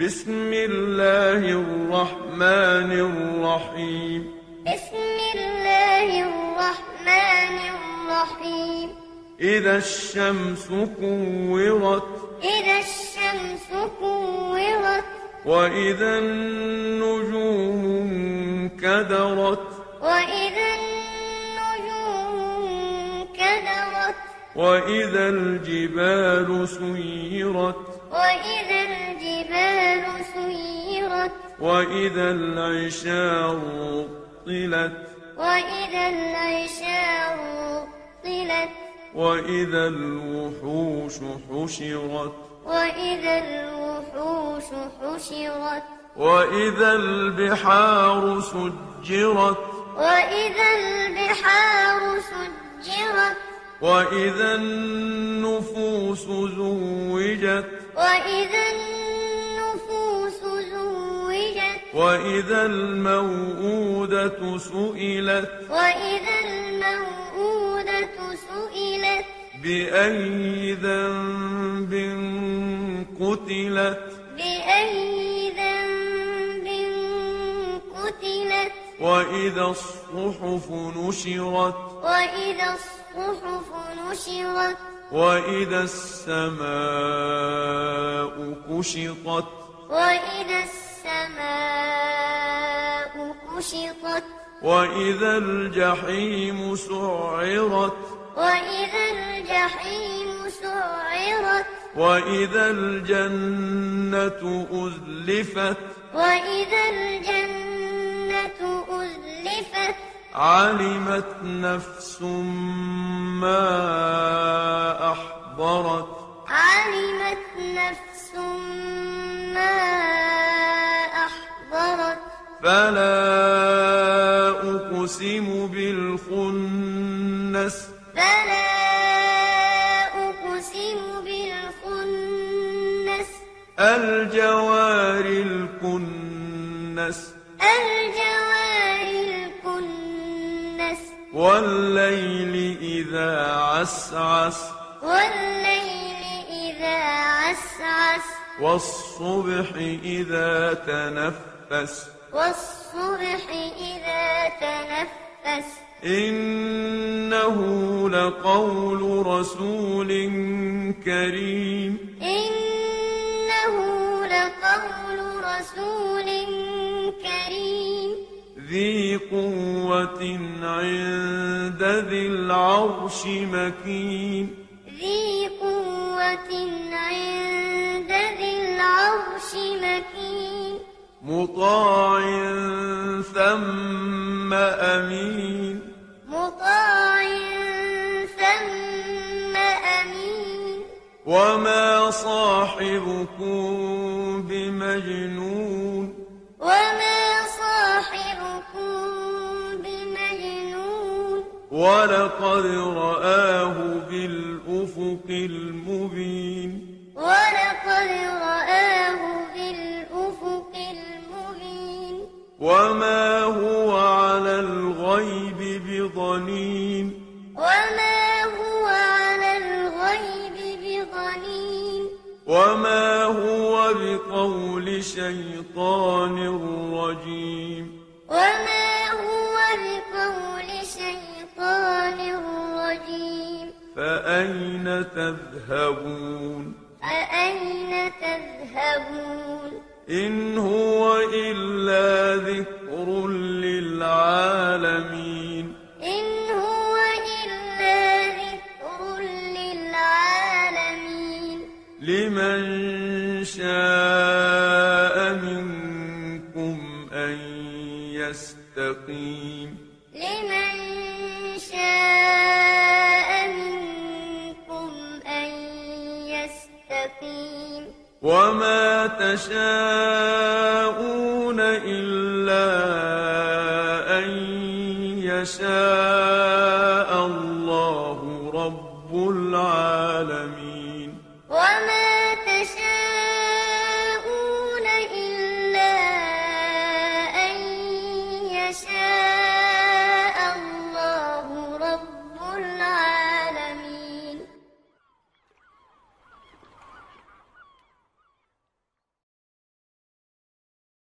بسم الله الرحمن الرحيم بسم الله الرحمن الرحيم إذا الشمس كورت إذا الشمس كورت وإذا النجوم انكدرت وإذا النجوم انكدرت وإذا الجبال سيرت وإذا الجبال سيرت وإذا العشار طلت وإذا العشار طلت وإذا الوحوش حشرت وإذا الوحوش حشرت وإذا البحار سجرت وإذا البحار سجرت وإذا النفوس زوجت وإذا النفوس زوجت وإذا الموءودة سئلت وإذا الموءودة سئلت بأي ذنب قتلت بأي ذنب قتلت وإذا الصحف نشرت وإذا الصحف نشرت وإذا السماء كشطت وإذا السماء كشطت وإذا الجحيم سعرت وإذا الجحيم سعرت وإذا الجنة أزلفت وإذا الجنة أزلفت علمت نفس ما أحضرت علمت نفس ما أحضرت فلا أقسم بالخنس فلا أقسم بالخنس الجوار الكنس الجوار الكنس والليل إذا عسعس والليل إذا عسعس والصبح إذا تنفس والصبح إذا تنفس إنه لقول رسول كريم إنه لقول رسول كريم ذي قوة عند ذي العرش مكين ذي قوة عند ذي العرش مكين مطاع ثم أمين مطاع ثم أمين وما صاحبكم بمجنون وما صاحبكم بمجنون ولقد رآه بالأفق المبين ولقد رآه بالأفق المبين وما هو على الغيب بضنين وما هو على الغيب بضنين وما هو بقول شيطان رجيم وما هو بقول شيطان رجيم فأين تذهبون فأين تذهبون إن هو إلا ذكر للعالمين إن هو إلا ذكر للعالمين لمن شاء منكم أن يستقيم لمن شاء منكم أن يستقيم وما تشاءون إلا أن يشاء